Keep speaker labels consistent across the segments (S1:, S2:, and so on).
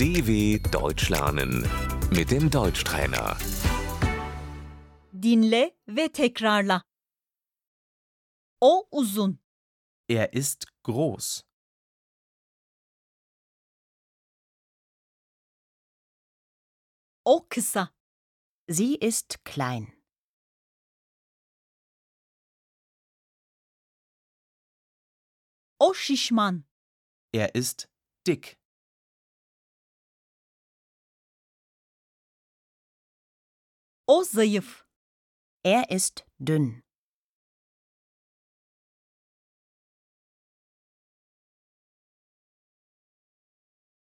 S1: DW Deutsch lernen mit dem Deutschtrainer.
S2: Dinle ve tekrarla. O uzun.
S3: Er ist groß.
S2: O kısa.
S4: Sie ist klein.
S2: O şişman.
S3: Er ist dick.
S2: O zayıf.
S4: Er ist dünn.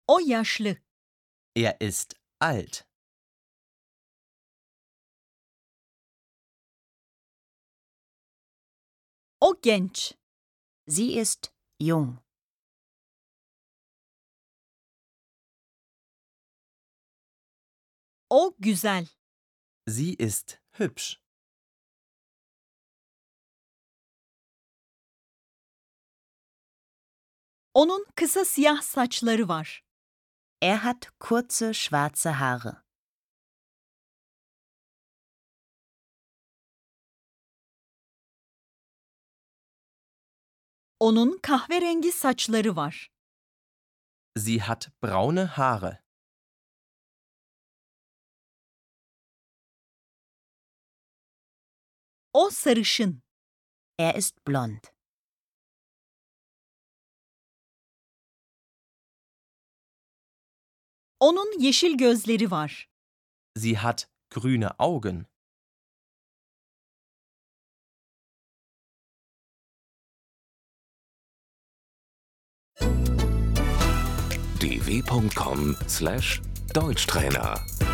S2: O yaşlı.
S3: Er ist alt.
S2: O genç.
S4: Sie ist jung.
S2: O güzel.
S3: Sie ist hübsch.
S2: Onun kısa siyah saçları var.
S4: Er hat kurze schwarze Haare.
S2: Onun kahverengi saçları var.
S3: Sie hat braune Haare.
S2: O sarışın. E
S4: Er ist blond.
S2: Onun yeşil gözleri var.
S3: Sie hat grüne Augen.
S1: dw.com/deutschtrainer